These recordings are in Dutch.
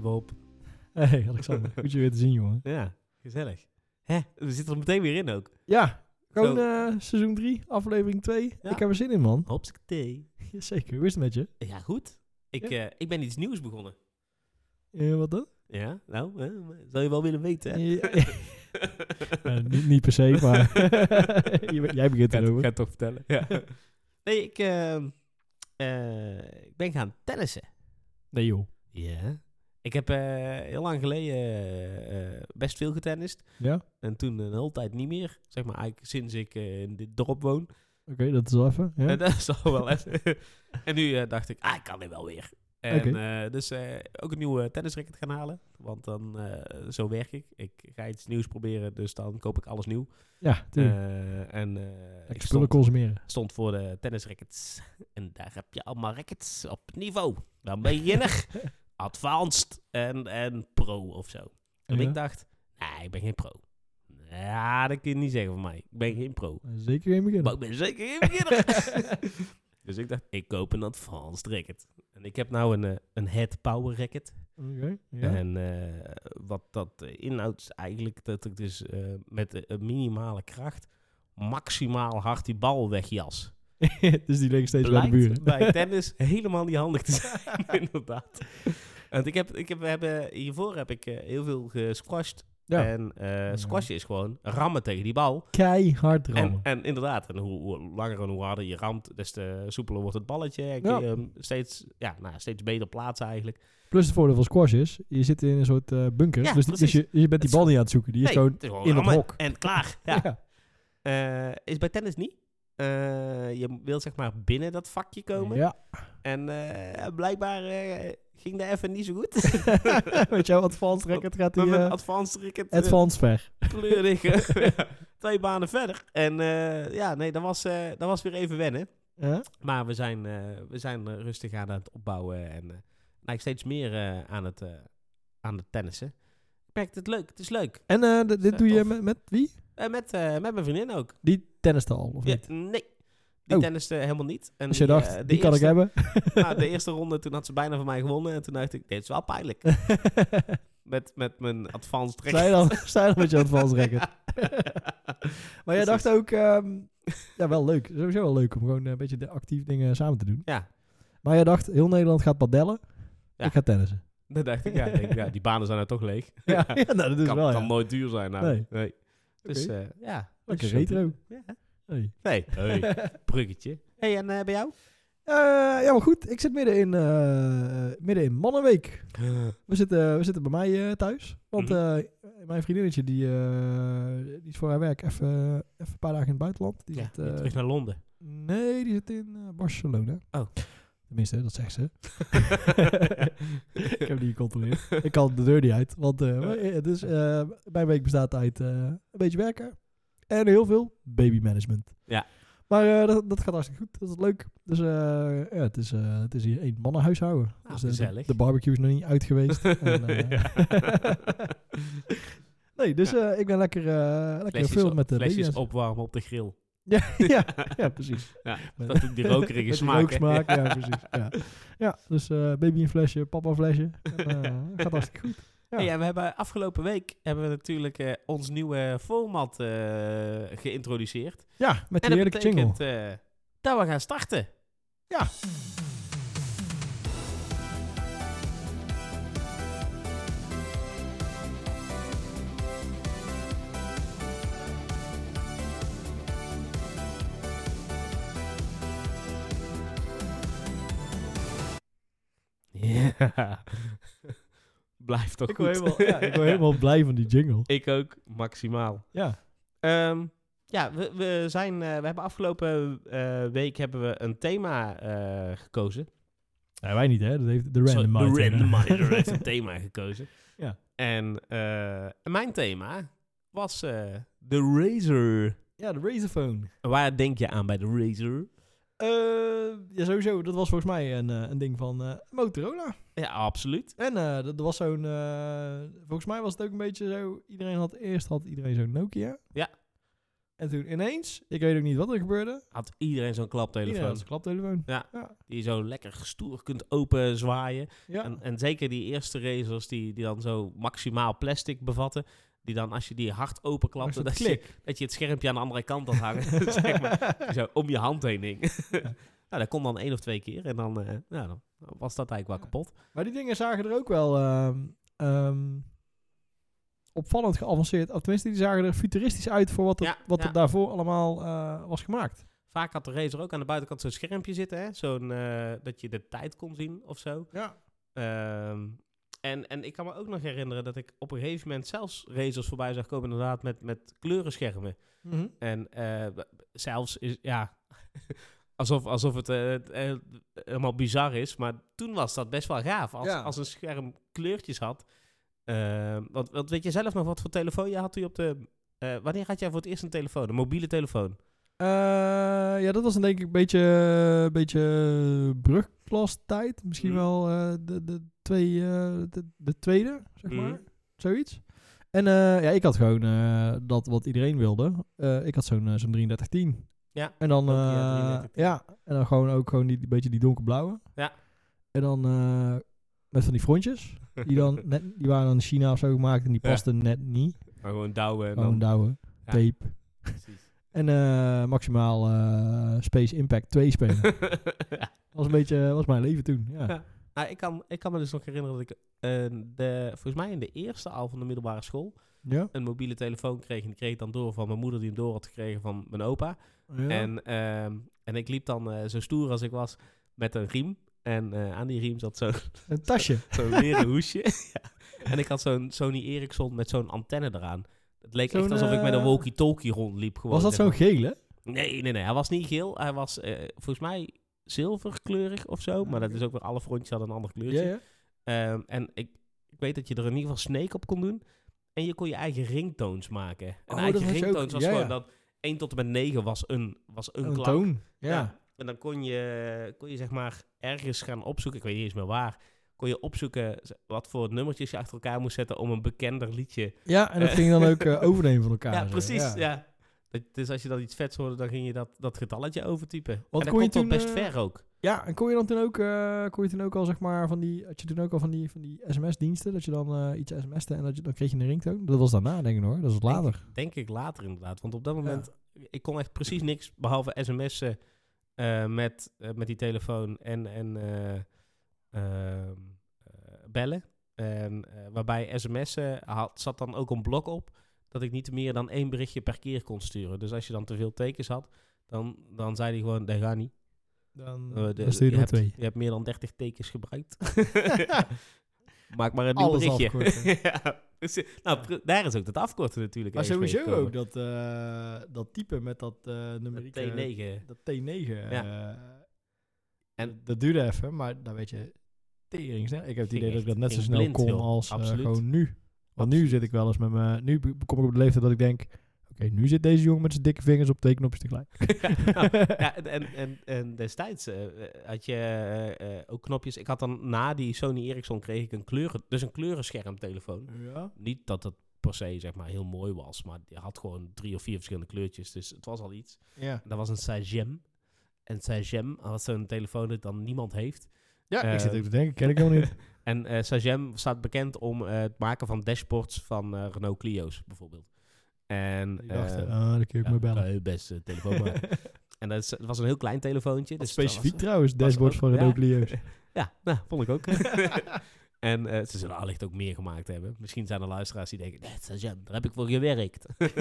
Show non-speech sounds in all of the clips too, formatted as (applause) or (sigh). Bob. Hey, (laughs) Alexander. Goed je weer te zien, jongen. Ja, gezellig. Hè? We zitten er meteen weer in ook. Ja, gewoon Zo. eh, seizoen 3, aflevering 2. Ja. Ik heb er zin in, man. (laughs) Hopsik thee. Zeker, hoe is het met je? Ja, goed. Ik, Ja. eh, ik ben iets nieuws begonnen. Eh, wat dan? Ja, nou, hè, zou je wel willen weten, hè? (laughs) (laughs) Eh, eh, niet, niet per se, maar (laughs) je bent- jij begint Ga het- erover. ga het toch vertellen. Ja. (laughs) nee, ik, ehm, eh, ik ben gaan tennissen. Nee, joh. Ja. Ik heb eh, heel lang geleden eh, eh, best veel getennist. Ja? Oké, En toen een hele tijd niet meer. Zeg maar eigenlijk sinds ik eh, in dit dorp woon. dat is wel even. Ja? En dat is al wel even. (laughs) en nu eh, dacht ik, ah, ik kan dit wel weer. En Oké. eh, dus eh, ook een nieuwe tennisracket gaan halen. Want dan, eh, zo werk ik. Ik ga iets nieuws proberen, dus dan koop ik alles nieuw. ja, tuurlijk. Eh, en eh, ik Lekker spullen stond, consumeren. stond voor de tennisrackets. En daar heb je allemaal rackets op niveau. Dan (laughs) beginner, advanced en, en pro of zo. En Ja. ik dacht, nee, ik ben geen pro. Ja, dat kun je niet zeggen van mij. Ik ben geen pro. Eh, Zeker geen begin. Maar ik ben zeker geen beginner. (laughs) dus ik dacht, ik koop een advanced racket. En ik heb nou een, eh, een head power racket. Oké, ja. En eh, wat dat eh, inhoudt is eigenlijk dat ik dus eh, met eh, een minimale kracht maximaal hard die bal wegjas. Eh, (laughs) dus die liggen steeds bij de Blijkt buren. (laughs) bij tennis helemaal niet handig te zijn, (laughs) inderdaad. Want ik heb, ik heb, we hebben, hiervoor heb ik eh, heel veel gesquashed. Ja. En eh squashen is gewoon rammen tegen die bal. Keihard En, rammen. en inderdaad, en hoe, hoe langer en hoe harder je ramt, des te soepeler wordt het balletje. En kun Ja. je hem steeds, ja, nou, steeds beter plaatsen eigenlijk. Plus het voordeel van squash is, je zit in een soort eh, bunker. Ja, dus precies. dus je, je bent die is- bal niet aan het zoeken. Die is Nee, gewoon... het is in het rammen hok. En klaar. Ja. (laughs) Ja. Eh, is bij tennis niet. Eh, je wilt zeg maar binnen dat vakje komen. Ja. En eh, blijkbaar eh, ging dat even niet zo goed. (laughs) Weet je, wel, advanced racket gaat die... (laughs) Met mijn eh advanced racket eh, advanced ver. kleurig. (laughs) eh, (laughs) Twee banen verder. En eh, ja, nee, dat was, eh, dat was weer even wennen. Ja? Maar we zijn, eh, we zijn eh, rustig aan het opbouwen en eh eigenlijk steeds meer eh, aan, het, eh, aan het tennissen. Ik merk het leuk, het is leuk. En eh, d- dit Ja, doe je tof. met, met wie? Eh, met, eh, met mijn vriendin ook. Die tenniste al, of Ja, niet? nee, die Oh. tenniste helemaal niet. En Als je die, dacht, eh, de die kan ik eerste- hebben. (laughs) nou, de eerste ronde, toen had ze bijna van mij gewonnen. En toen dacht ik, dit is wel pijnlijk. Met, met mijn advanced Sta je racket. dan, sta je dan met je advanced racket. (laughs) Maar jij dacht ook... ehm, ja, wel leuk. Sowieso wel leuk om gewoon een beetje de actief dingen samen te doen. Ja. Maar jij dacht, heel Nederland gaat padellen. Ja. Ik ga (laughs) tennissen. (laughs) Dat dacht ik, ja, ik denk, ja, die banen zijn nou toch leeg. (laughs) Ja, (laughs) ja nou, dat is kan, wel, kan ja. nooit duur zijn nou. Nee. Dus Oké. eh, ja. Lekker Dus, eh, retro. Ja. Hey. (laughs) Nee, hey, bruggetje. hey, en eh, bij jou? Eh, ja, maar goed. Ik zit midden in, eh, midden in Mannenweek. Eh, We zitten, we zitten bij mij eh, thuis. Want Mhm. eh, mijn vriendinnetje die, eh, die is voor haar werk even, even een paar dagen in het buitenland. Die ja, zit, eh, weer terug naar Londen. nee, die zit in eh, Barcelona. Oh. Tenminste, dat zegt (laughs) ze. (laughs) ik heb die gecontroleerd. (laughs) Ik kan de deur niet uit. Want eh, maar, eh, dus, eh, mijn week bestaat uit eh, een beetje werken. En heel veel babymanagement. Ja. Maar eh, dat, dat gaat hartstikke goed. Dat is leuk. Dus eh, ja, het, is, eh, het is hier één mannenhuishouden. Ah, dus, eh, de- gezellig. De, barbecue is nog niet uit (laughs) geweest. En, eh, Ja. (laughs) nee, dus eh, ik ben lekker, eh lekker Flesjes veel op- met de flesjes baby's. opwarmen op de grill. (laughs) ja, ja, precies. Ja, Met- dat doet die rokerige (laughs) met die smaak, hè? rooksmaak, (laughs) ja, precies. Ja, ja dus eh, baby een flesje, papa een flesje. En, eh, gaat hartstikke goed. Ja. Hey, en we hebben afgelopen week hebben we natuurlijk eh, ons nieuwe format eh, geïntroduceerd. Ja, met En die dat heerlijke jingle. betekent eh, dat we gaan starten. Ja. (laughs) Ja. Blijf toch Ik goed. word, helemaal, ja, (laughs) ik word helemaal blij van die jingle. Ik ook, maximaal. Ja, Ehm, ja, we, we, zijn, eh, we hebben afgelopen eh, week hebben we een thema eh, gekozen. nee, wij niet hè, dat heeft de Sorry, randomizer. De randomizer heeft (laughs) (laughs) een thema gekozen. Ja. En eh, mijn thema was eh, de Razer. ja, de Razerphone. Waar denk je aan bij de Razer? Eh, ja, sowieso, dat was volgens mij een, eh, een ding van eh, Motorola. Ja, absoluut. En eh, dat, dat was zo'n, eh, volgens mij was het ook een beetje zo, iedereen had eerst had iedereen zo'n Nokia. Ja. En toen ineens, ik weet ook niet wat er gebeurde. Had iedereen zo'n Iedereen had klaptelefoon. zijn klaptelefoon. Die je zo lekker stoer kunt openzwaaien. Ja. En, en zeker die eerste racers die, die dan zo maximaal plastic bevatten. Die dan als je die hard Maar openklapte, zo'n dat je, klik. dat je het schermpje aan de andere kant had hangen. (laughs) zeg maar. Zo om je hand heen hing. (laughs) nou, dat kon dan één of twee keer. En dan, eh, nou, dan was dat eigenlijk wel kapot. Maar die dingen zagen er ook wel ehm, ehm, opvallend geavanceerd. Of tenminste, die zagen er futuristisch uit voor wat er, Ja, wat ja. er daarvoor allemaal eh, was gemaakt. Vaak had de racer ook aan de buitenkant zo'n schermpje zitten. Hè? Zo'n, eh, dat je de tijd kon zien of zo. Ja. Ehm, en, en ik kan me ook nog herinneren dat ik op een gegeven moment zelfs racers voorbij zag komen. Inderdaad met, met kleurenschermen. Mhm. En eh, b- b- zelfs is, ja, (laughs) alsof, alsof het eh, het, eh, helemaal bizar is. Maar toen was dat best wel gaaf. Als, Ja. als een scherm kleurtjes had. Ehm, want, want weet je zelf nog wat voor telefoon je had toen je op de... eh, wanneer had jij voor het eerst een telefoon? Een mobiele telefoon? Eh, ja, dat was dan denk ik een beetje, een beetje brugklastijd. Misschien Mhm. wel eh, de, de, twee, eh, de, de tweede, zeg Mhm. maar. Zoiets. En eh, ja, ik had gewoon eh, dat wat iedereen wilde. Eh, ik had zo'n eh, zo'n 3310. Ja, En dan, Nokia eh, 3310. ja, en dan gewoon ook gewoon die, die beetje die donkerblauwe. Ja. En dan eh, met van die frontjes. Die, (laughs) dan net, die waren dan in China of zo gemaakt en die Ja. pasten net niet. Maar gewoon douwen. En Gewoon dan, douwen, Ja. tape. (laughs) Precies. En eh, maximaal eh, Space Impact (laughs) 2 spelen. Ja. was een beetje eh, was mijn leven toen. Ja. Ja. Ah, ik, kan, ik kan me dus nog herinneren dat ik... eh, de, volgens mij in de eerste al van de middelbare school... Ja. een mobiele telefoon kreeg. En die kreeg ik dan door van mijn moeder die hem door had gekregen van mijn opa. ja. En, ehm, en ik liep dan eh, zo stoer als ik was met een riem. En eh, aan die riem zat zo- zo'n (laughs) een (laughs) tasje. leren hoesje. (laughs) ja. En ik had zo'n Sony Ericsson met zo'n antenne eraan. Het leek echt Zo'n, alsof ik met een eh, walkie-talkie rondliep. Gewoon, Was dat zeg zo'n maar. gele? Nee, nee, nee. Hij was niet geel. Hij was eh, volgens mij zilverkleurig of zo. Maar dat Oké. is ook weer alle frontjes hadden een ander kleurtje. Ja, ja. Ehm, en ik, ik weet dat je er in ieder geval Snake op kon doen. En je kon je eigen ringtones maken. En Oh, dat eigen had je ook. ringtones was Ja, gewoon ja. dat 1 tot en met 9 was een, was een, Een klank. toon. Ja. En dan kon je, kon je zeg maar ergens gaan opzoeken, ik weet niet eens meer waar, kon je opzoeken z- wat voor nummertjes je achter elkaar moest zetten om een bekender liedje. Ja, en dat Eh. ging dan ook (laughs) eh, overnemen van elkaar. Ja, zo. precies. Ja. Dat- dus als je dan iets vets hoorde, dan ging je dat, dat getalletje overtypen. Wat en dat kon je komt wel toen, best eh, ver ook. Ja, en kon je dan toen ook, eh, kon je toen ook al zeg maar van die, had je toen ook al van die, van die sms-diensten, dat je dan eh, iets sms'te en dat je, dan kreeg je een ringtoon? Dat was daarna, denk ik hoor. Dat was later. Denk ik later inderdaad. Want op dat moment ik kon echt precies niks behalve sms'en eh, met, eh, met die telefoon en, en eh, ehm, eh, bellen. En, eh, waarbij sms'en had, zat dan ook een blok op dat ik niet meer dan één berichtje per keer kon sturen. Dus als je dan te veel tekens had, dan, dan zei hij gewoon, dat gaat niet. Dan, Eh, de- stuurde je, je hebt, (laughs) twee. je hebt meer dan 30 tekens gebruikt. (laughs) Maak maar een nieuw Alles berichtje. afkorten. (laughs) ja, dus, nou, pr- daar is ook dat afkorten natuurlijk. Maar eens mee sowieso gekomen. ook dat, eh, dat type met dat eh Met numerieke... T9. dat T9. Ja. eh, En- dat duurde even, maar dan weet je, tering snel. Ik heb het Ging idee dat ik dat net echt- ging zo snel blind, kon joh. als eh, Absoluut. gewoon nu. Want nu zit ik wel eens met mijn... Nu be- kom ik op de leeftijd dat ik denk... Oké, nu zit deze jongen met zijn dikke vingers op twee knopjes tegelijk. (laughs) ja, (laughs) nou, ja, en- en, en, en destijds eh, had je eh, eh, ook knopjes. Ik had dan na die Sony Ericsson kreeg ik een kleuren, dus een kleurenschermtelefoon. Ja. Niet dat het per se zeg maar heel mooi was, maar die had gewoon drie of vier verschillende kleurtjes, dus het was al iets. Ja, Dat was een Sagem. En Sagem was zo'n telefoon dat dan niemand heeft. ja ik zit Ehm. ook te denken, ken ik (laughs) helemaal niet. En eh Sagem staat bekend om eh, het maken van dashboards van eh, Renault Clio's bijvoorbeeld. En Ik dacht, eh, ah, dan kun je ook ja, maar kan bellen. je best een telefoon maken. (laughs) en dat is- het was een heel klein telefoontje. Wat Dus dat was- specifiek trouwens, dashboard ook- van Renault Clio's. Ja, nou, vond ik (laughs) ook. (laughs) en eh, ze zullen allicht ook meer gemaakt hebben. Misschien zijn er luisteraars die denken, nee, sergeant, daar heb ik voor gewerkt. (laughs)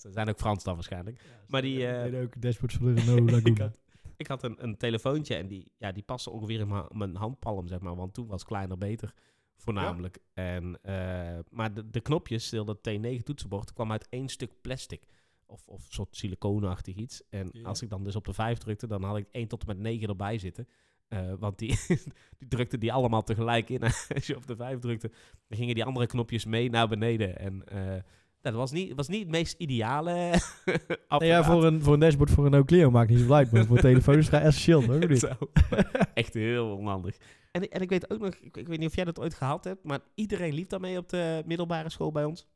ze zijn ook Frans dan waarschijnlijk. (laughs) Maar die, eh, Deden ook dashboard van de (laughs) Renault Laguna. ik had, ik had een, een telefoontje en die, ja, die paste ongeveer in mijn- mijn handpalm, zeg maar. Want toen was kleiner beter, voornamelijk. En, eh, maar de, de knopjes, heel dat T9-toetsenbord, kwam uit één stuk plastic. Of, of een soort siliconenachtig iets. En Ja. als ik dan dus op de 5 drukte, dan had ik 1 tot en met 9 erbij zitten. Eh, want die, (laughs) die drukte die allemaal tegelijk in. (laughs) als je op de 5 drukte, dan gingen die andere knopjes mee naar beneden. En eh, nou, dat was niet, was niet het meest ideale (laughs) Nee, ja, apparaat. voor een, voor een dashboard voor een Renault Clio maakt niet zo uit, maar voor telefoon is vrij essentieel, (laughs) toch? of niet? Zo. Echt heel onhandig. En, en ik weet ook nog, ik, ik weet niet of jij dat ooit gehad hebt, maar iedereen liep daarmee op de middelbare school bij ons.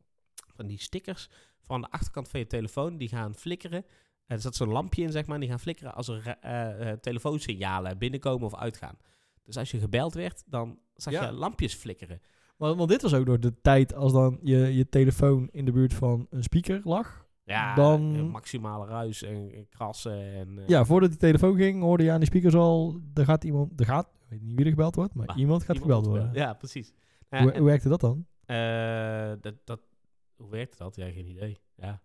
van die stickers van de achterkant van je telefoon. Die gaan flikkeren. Eh, er zat zo'n lampje in, zeg maar. en Die gaan flikkeren als er eh, eh, telefoonsignalen binnenkomen of uitgaan. Dus als je gebeld werd, dan zag Ja. je lampjes flikkeren. Want, want dit was ook door de tijd als dan je, je telefoon in de buurt van een speaker lag. Ja, Dan- eh, maximale ruis en, en krassen. En, eh, Ja, voordat die telefoon ging hoorde je aan die speakers al, er gaat iemand, er gaat, ik weet niet wie er gebeld wordt, maar Maar iemand gaat Ah, iemand gebeld worden. Ja, precies. Ja, Hoe, en- hoe werkte dat dan? Eh, dat, dat, hoe werkte dat? Ja, geen idee. (laughs) Ja.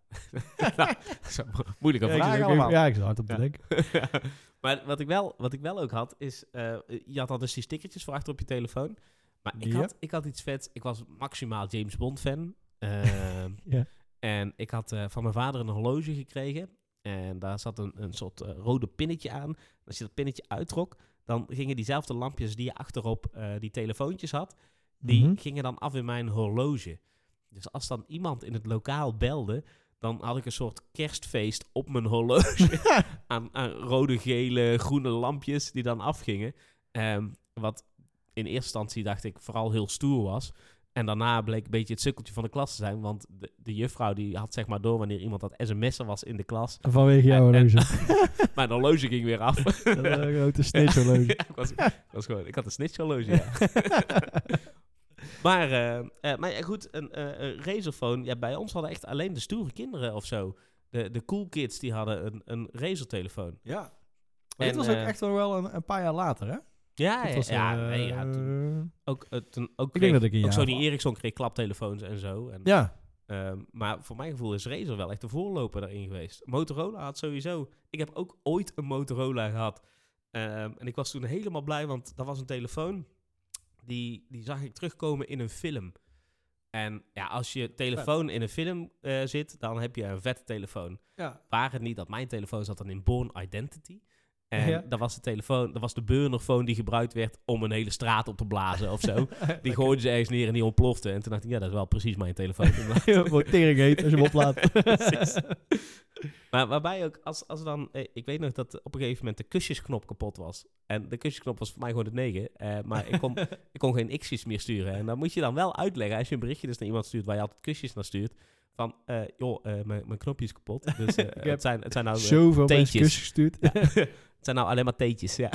(laughs) nou, zo mo- moeilijke Ja, ik zit vraag ook even- allemaal. ja, ik zit hard op Ja. te denken. (laughs) maar wat ik, wel, wat ik wel ook had, is... eh, je had al dus die stickertjes voor achter op je telefoon. Maar ik, Ja. had, ik had iets vets. Ik was maximaal James Bond fan. Ehm, (laughs) Ja. En ik had eh, van mijn vader een horloge gekregen. En daar zat een, een soort eh, rode pinnetje aan. Als je dat pinnetje uittrok, dan gingen diezelfde lampjes die je achterop eh, die telefoontjes had... Die Mhm. gingen dan af in mijn horloge. Dus als dan iemand in het lokaal belde, dan had ik een soort kerstfeest op mijn horloge. aan, aan rode, gele, groene lampjes die dan afgingen. Ehm, wat in eerste instantie dacht ik vooral heel stoer was. En daarna bleek een beetje het sukkeltje van de klas te zijn. Want de, de juffrouw die had zeg maar door wanneer iemand dat sms'en was in de klas. (laughs) Vanwege jouw En- en- horloge. Mijn horloge ging weer af. (laughs) Dat eh, grote snitch horloge. (laughs) Ja, ik, was, ik was gewoon, ik had een snitchhorloge, (laughs) ja. maar, eh, eh, maar ja, goed, een eh, een Razerphone. Ja, bij ons hadden echt alleen de stoere kinderen of zo. De, de cool kids, die hadden een, een Razertelefoon. Ja. En, Maar dit was ook eh, echt wel een, een paar jaar later, hè? Ja, Dit ja, was, ja, eh, nee, ja, toen ook, eh, toen ook ik kreeg- denk dat ik een ook jaar... Sony Ericsson kreeg klaptelefoons en zo. En, Ja, ehm, maar voor mijn gevoel is Razer wel echt de voorloper daarin geweest. Motorola had sowieso... Ik heb ook ooit een Motorola gehad. Ehm, en ik was toen helemaal blij, want dat was een telefoon... Die, die zag ik terugkomen in een film. En ja, als je telefoon in een film eh, zit, dan heb je een vette telefoon. ja. Waar het niet dat mijn telefoon zat dan in Born Identity. En Ja. dat was de telefoon, dat was de burnerfoon die gebruikt werd om een hele straat op te blazen of (laughs) zo. Die Lekker. gooiden ze ergens neer en die ontplofte. En toen dacht ik, ja, dat is wel precies mijn telefoon. (laughs) Wordt tering heet als je hem oplaat. (laughs) Precies. maar waarbij ook, als, als dan... eh, Ik weet nog dat op een gegeven moment de kusjesknop kapot was. En de kusjesknop was voor mij gewoon de 9. eh, maar ik kon, ik kon geen x's meer sturen. En dan moet je dan wel uitleggen, als je een berichtje dus naar iemand stuurt... waar je altijd kusjes naar stuurt... van, eh, joh, eh, mijn mijn knopje is kapot. Dus eh, heb het, zijn, het zijn nou... eh, (laughs) Zoveel mensen teentjes. kussen gestuurd. (laughs) het zijn nou alleen maar teetjes, ja.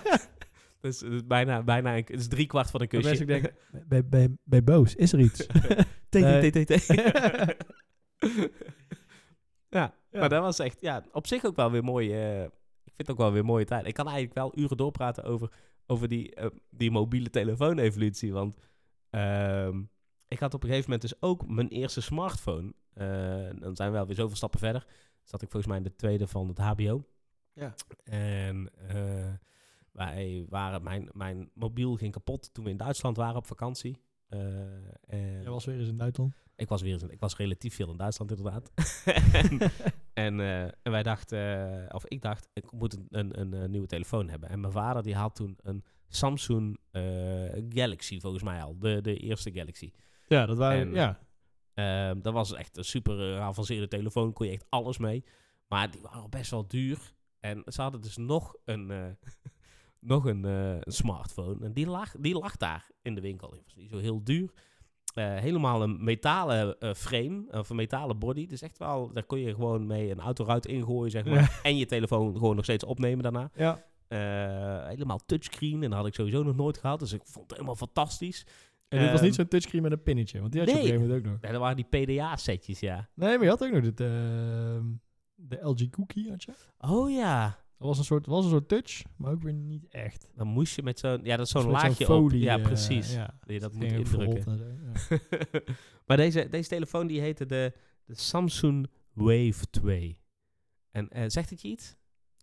(laughs) dus het is bijna, bijna een, het is drie kwart van een kusje. Waarbij ik denk, (laughs) bij, bij, bij Boos, is er iets? Nee. ja, maar dat was echt, ja, op zich ook wel weer mooi. eh, ik vind het ook wel weer mooie tijd. Ik kan eigenlijk wel uren doorpraten over, over die, eh, die mobiele telefoon-evolutie. Want ehm, ik had op een gegeven moment dus ook mijn eerste smartphone. Eh, dan zijn we alweer zoveel stappen verder. Zat ik volgens mij in de tweede van het HBO. Ja. En eh, wij waren, mijn, mijn mobiel ging kapot toen we in Duitsland waren op vakantie. Eh, en Jij was weer eens in (laughs) Duitsland. ik was weer eens in- ik was relatief veel in Duitsland inderdaad. en, en, eh, en wij dachten, eh, of ik dacht, ik moet een, een, een, eh, nieuwe telefoon hebben. En mijn vader die had toen een Samsung eh, Galaxy volgens mij al, de, de eerste Galaxy. Ja, dat waren- ja. Ehm, dat was echt een super eh, geavanceerde telefoon, kon je echt alles mee. Maar die waren best wel duur. En ze hadden dus nog een, eh, (laughs) nog een eh, een smartphone. En die lag, die lag daar in de winkel. Die was niet zo heel duur. Eh, helemaal een metalen eh, frame, of een metalen body. Dus echt wel, daar kon je gewoon mee een autoruit ingooien, zeg maar. En je telefoon gewoon nog steeds opnemen daarna. Ja. Eh, helemaal touchscreen, en dat had ik sowieso nog nooit gehad. Dus ik vond het helemaal fantastisch. En dit was Ehm, niet zo'n touchscreen met een pinnetje, want die had je op Nee. een gegeven moment ook nog. Ja, dat waren die PDA-setjes, ja. Nee, maar je had ook nog dit, ehm, de LG Cookie had je. Oh ja, Dat was een soort, was een soort touch, maar ook weer niet echt. Dan moest je met zo'n... Ja, dat is Een zo'n soort zo'n laagje op. folie, Ja, eh, precies. ja. Dat je dat Ging moet ook indrukken. verrot en zo, ja. (laughs) maar deze, deze telefoon die heette de, de Samsung Wave 2. En eh, zegt het je iets?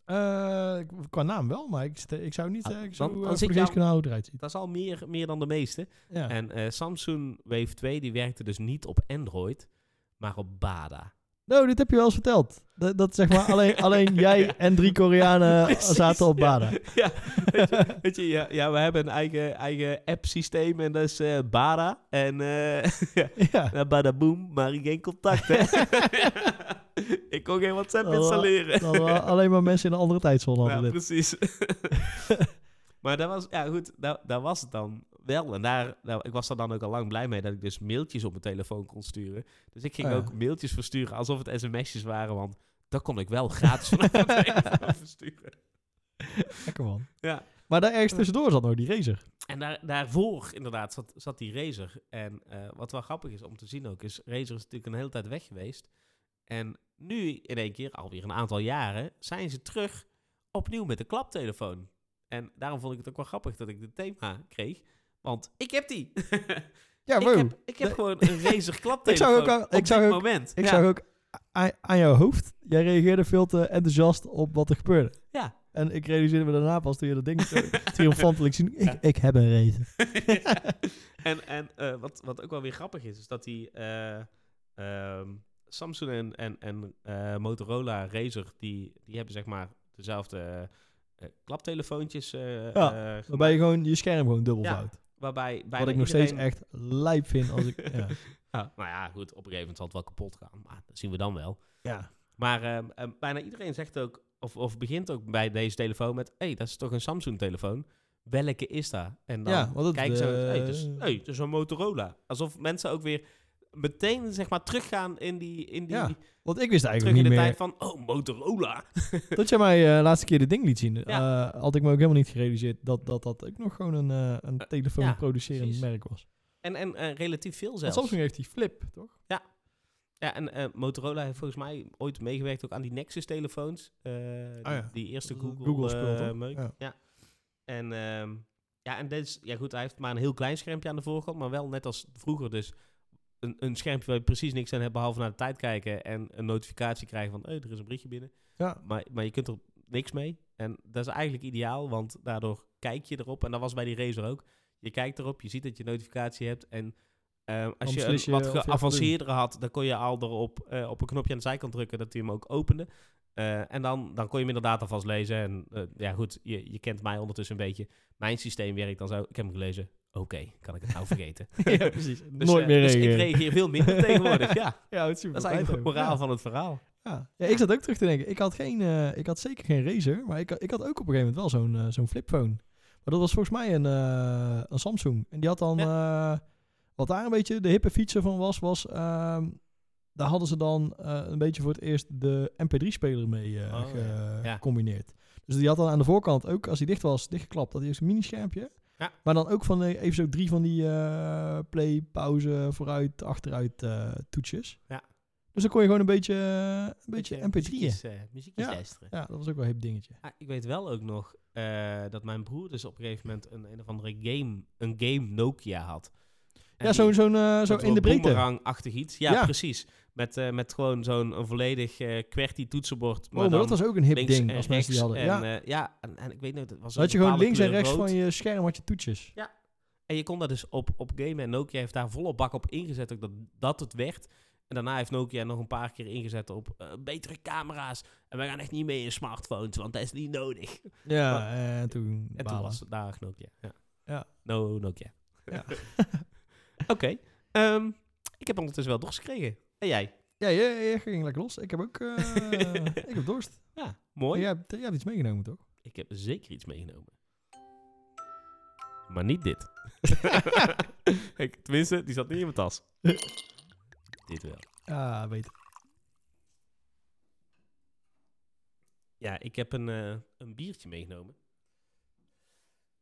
Eh, qua naam wel, maar ik, st- ik zou niet Ah, zeggen dan- zo dan eh, zit precies jou- kunnen houden hoe het eruit ziet. Dat is al meer, meer dan de meeste. Ja. En eh, Samsung Wave 2 die werkte dus niet op Android, maar op Bada. Nou, dit heb je wel eens verteld. Dat, dat zeg maar (laughs) alleen, alleen jij en drie Koreanen Precies, Eh, zaten op ja. Bada. (laughs) Ja, weet je, weet je, ja, ja, we hebben een eigen, eigen app-systeem en dat is eh, Bada. En eh, Ja. nou, Badaboom, maar geen contact, hè. Ik kon geen WhatsApp Oh, installeren. Dan, eh, alleen maar mensen in een andere tijdzone hadden Ja, dit. precies. maar dat was, ja goed, dat, dat was het dan wel. En daar, nou, ik was daar dan ook al lang blij mee dat ik dus mailtjes op mijn telefoon kon sturen. Dus ik ging Ah. ook mailtjes versturen alsof het sms'jes waren, want dat kon ik wel gratis vanaf mijn telefoon versturen. Lekker man. Ja. Maar daar ergens tussendoor zat nog die racer. En daar, daarvoor inderdaad zat, zat die Razer. En eh, wat wel grappig is om te zien ook, is Razer is natuurlijk een hele tijd weg geweest. En nu in één keer, alweer een aantal jaren, zijn ze terug opnieuw met de klaptelefoon. En daarom vond ik het ook wel grappig dat ik dit thema kreeg. Want ik heb die. Ja, ik wow. heb, ik heb Nee. gewoon een (laughs) Razer klaptelefoon ook al- op ik zou dit ook- moment. Ik ja. zag ook aan, aan jouw hoofd, jij reageerde veel te enthousiast op wat er gebeurde. Ja. En ik realiseerde me daarna pas toen je dat ding (laughs) zo triomfantelijk zien. Ik, ik heb een racer. en en eh, wat, wat ook wel weer grappig is, is dat die eh, ehm, Samsung en, en, en eh, Motorola Razer, die, die hebben zeg maar dezelfde eh, eh, klaptelefoontjes. eh, Ja, eh, Waarbij je gewoon je scherm gewoon dubbel Ja, vouwt. waarbij bijna Wat ik nog iedereen- steeds echt lijp vind als ik... (laughs) Ja. Ja, nou ja, goed, op een gegeven moment zal het wel kapot gaan, maar dat zien we dan wel. ja. Maar ehm, ehm, bijna iedereen zegt ook, of, of begint ook bij deze telefoon met... hé, hey, dat is toch een Samsung-telefoon? Welke is dat? En dan Ja, want het, kijken ze, eh, hey, dus, hey, het is een Motorola. Alsof mensen ook weer meteen zeg maar, teruggaan in die... In die Ja, Want ik wist terug eigenlijk in de niet meer... tijd van, oh, Motorola. Tot jij mij eh, laatste keer dit ding liet zien, eh, had ik me ook helemaal niet gerealiseerd dat dat, dat ook nog gewoon een, eh, een Eh, telefoon ja, producerend precies. merk was. En, en eh, relatief veel Want zelfs. Samsung heeft die flip, toch? Ja, en eh, Motorola heeft volgens mij ooit meegewerkt ook aan die Nexus-telefoons. eh, die- Ah ja. Die eerste Dat is een Google, Google-spul, eh, toch? meuk. Ja. (laughs) Ja. En, ehm, ja, en dit is, ja, goed, hij heeft maar een heel klein schermpje aan de voorkant, maar wel net als vroeger dus een, een schermpje waar je precies niks aan hebt, behalve naar de tijd kijken en een notificatie krijgen van, hey, er is een berichtje binnen. Ja. Maar, maar je kunt er niks mee. En dat is eigenlijk ideaal, want daardoor kijk je erop. En dat was bij die Razer ook. Je kijkt erop, je ziet dat je notificatie hebt. En eh, als je een beslis je wat of je gaat geavanceerdere had, dan kon je al erop eh, op een knopje aan de zijkant drukken dat hij hem ook opende. Eh, en dan, dan kon je hem inderdaad alvast lezen. En eh, ja, goed, je, je kent mij ondertussen een beetje. Mijn systeem werkt dan zo. Ik heb hem gelezen. Oké, kan ik het nou vergeten? (laughs) ja, precies. Dus, Nooit eh, meer dus ik reageren. reageer veel (laughs) minder tegenwoordig. Ja, ja, het is super dat is eigenlijk het fijn. moraal Ja. van het verhaal. Ja. Ja, ik zat ook terug te denken. Ik had, geen, eh, ik had zeker geen Razer, maar ik, ik had ook op een gegeven moment wel zo'n eh, zo'n flipphone. Maar dat was volgens mij een, eh, een Samsung. En die had dan, eh, wat daar een beetje de hippe feature van was, was ehm, daar hadden ze dan eh, een beetje voor het eerst de MP3-speler mee eh, Oh, ge- ja. Ja. gecombineerd. Dus die had dan aan de voorkant ook, als die dicht was, dichtgeklapt, dat hij eerst een minischermpje. Ja. Maar dan ook van eh, even zo drie van die eh, play, pauze, vooruit, achteruit eh, toetsjes. Ja. Dus dan kon je gewoon een beetje, een beetje muziekjes, mp3'en. eh, muziekjes Ja. luisteren. Ja, dat was ook wel een hip dingetje. Ah, ik weet wel ook nog eh, dat mijn broer dus op een gegeven moment een, een of andere game, een game Nokia had. En ja, die- zo'n zo'n eh, zo dat in de wel breedte. boemerang-achtig iets. Ja, Ja. precies. Met, eh, met gewoon zo'n een volledig eh QWERTY toetsenbord. Oh, maar dat was ook een hip links ding en als mensen die rechts hadden. En, ja. eh, ja, en, en ik weet niet, dat was Dan had je een gewoon bepaalde links en kleur rechts rood. van je scherm had je toetjes. En je kon daar dus op, op gamen. En Nokia heeft daar volle bak op ingezet ook dat, dat het werd. En daarna heeft Nokia nog een paar keer ingezet op eh, betere camera's. En wij gaan echt niet mee in smartphones, want dat is niet nodig. Ja, en toen En toen balen. was het daar Nokia. Ja. Ja. No Nokia. Ja. (laughs) Oké. ehm, ik heb ondertussen wel dorst gekregen. En jij? Ja, je, je ging lekker los. Ik heb ook (laughs) eh, ik heb dorst. Ja, mooi. Jij hebt, jij hebt iets meegenomen, toch? Ik heb zeker iets meegenomen. Maar niet (laughs) dit. Ik- Tenminste, die zat niet in mijn tas. dit wel. Ja, weet ik. Ja, ik heb een, eh, een biertje meegenomen.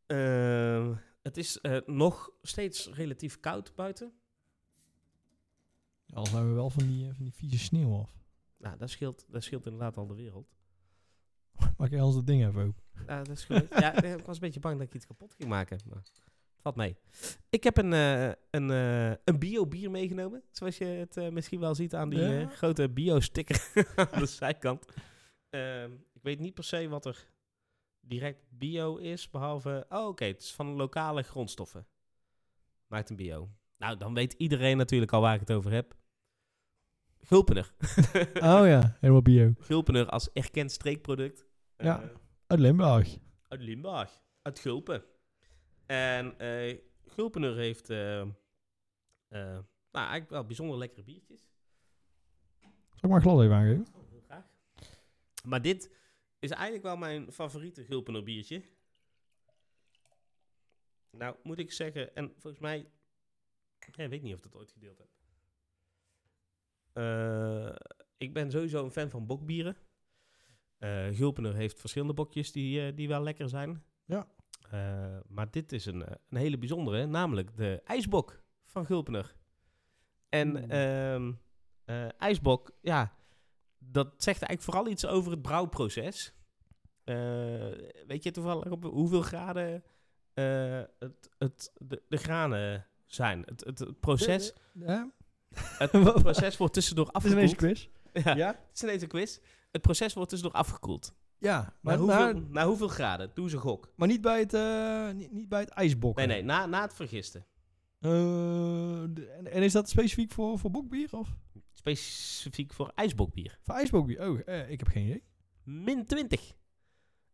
Ehm, het is eh, nog steeds relatief koud buiten. Al zijn we wel van die, eh, van die vieze sneeuw af. Nou, dat scheelt, dat scheelt inderdaad al de wereld. Maak jij ons dat ding even open? Ja, dat is goed. ja, (laughs) nee, ik was een beetje bang dat ik iets kapot ging maken. Maar het valt mee. Ik heb een, eh, een, eh, een bio-bier meegenomen. Zoals je het eh, misschien wel ziet aan die Ja. eh, grote bio-sticker (laughs) aan de zijkant. Ehm, ik weet niet per se wat er direct bio is. Behalve, oh oké, het is van lokale grondstoffen. Maakt een bio. Nou, dan weet iedereen natuurlijk al waar ik het over heb. Gulpener. Oh ja, helemaal bio. (laughs) Gulpener als erkend streekproduct. Ja. Eh, Uit Limburg. uit Limburg, uit Gulpen. En eh Gulpener heeft eh, eh, nou, eigenlijk wel bijzonder lekkere biertjes. Zal ik maar glad even aangeven? Oh, heel graag. Maar dit is eigenlijk wel mijn favoriete Gulpener biertje. Nou, moet ik zeggen, en volgens mij, ja, ik weet niet of ik dat ooit gedeeld heb. Eh, ik ben sowieso een fan van bokbieren. Eh Gulpener heeft verschillende bokjes die, eh, die wel lekker zijn. Ja. Eh, maar dit is een, eh, een hele bijzondere, namelijk de ijsbok van Gulpener. En Oeh. ehm, eh, ijsbok, ja, dat zegt eigenlijk vooral iets over het brouwproces. Eh, weet je toevallig op hoeveel graden eh, het, het, de, de granen zijn? Het, het, het proces, Ja? het (laughs) proces wordt tussendoor Eh, Het is ineens een afgekoeld. quiz. Ja, het is ineens een quiz. Het proces wordt tussendoor afgekoeld. Ja, Naar maar, hoeveel, maar, naar hoeveel graden? Doe ze gok. maar niet bij het, eh niet, niet bij het ijsbokken. Nee, nee, na, na het vergisten. Eh, de- en, en is dat specifiek voor, voor bokbier of Specifiek voor ijsbokbier. voor ijsbokbier? Oh, eh, ik heb geen idee. Min 20.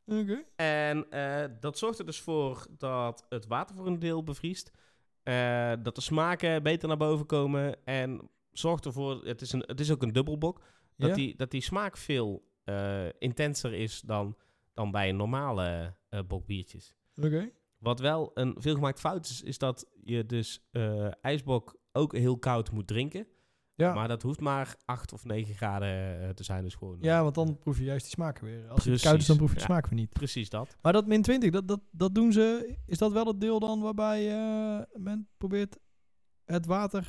Oké. En eh, dat zorgt er dus voor dat het water voor een deel bevriest. eh, dat de smaken beter naar boven komen. En zorgt ervoor, het is, een, het is ook een dubbelbok, dat, Ja? die, dat die smaak veel eh, intenser is dan, dan bij normale eh bokbiertjes. Oké. Wat wel een veelgemaakt fout is, is dat je dus eh, ijsbok ook heel koud moet drinken. Ja. Maar dat hoeft maar 8 of 9 graden eh, te zijn. Dus gewoon, ja, want dan proef je juist die smaken weer. Als het koud is, Precies, dan proef je de ja. smaak weer niet. Precies dat. Maar dat min 20, dat, dat, dat doen ze. Is dat wel het deel dan waarbij eh, men probeert het water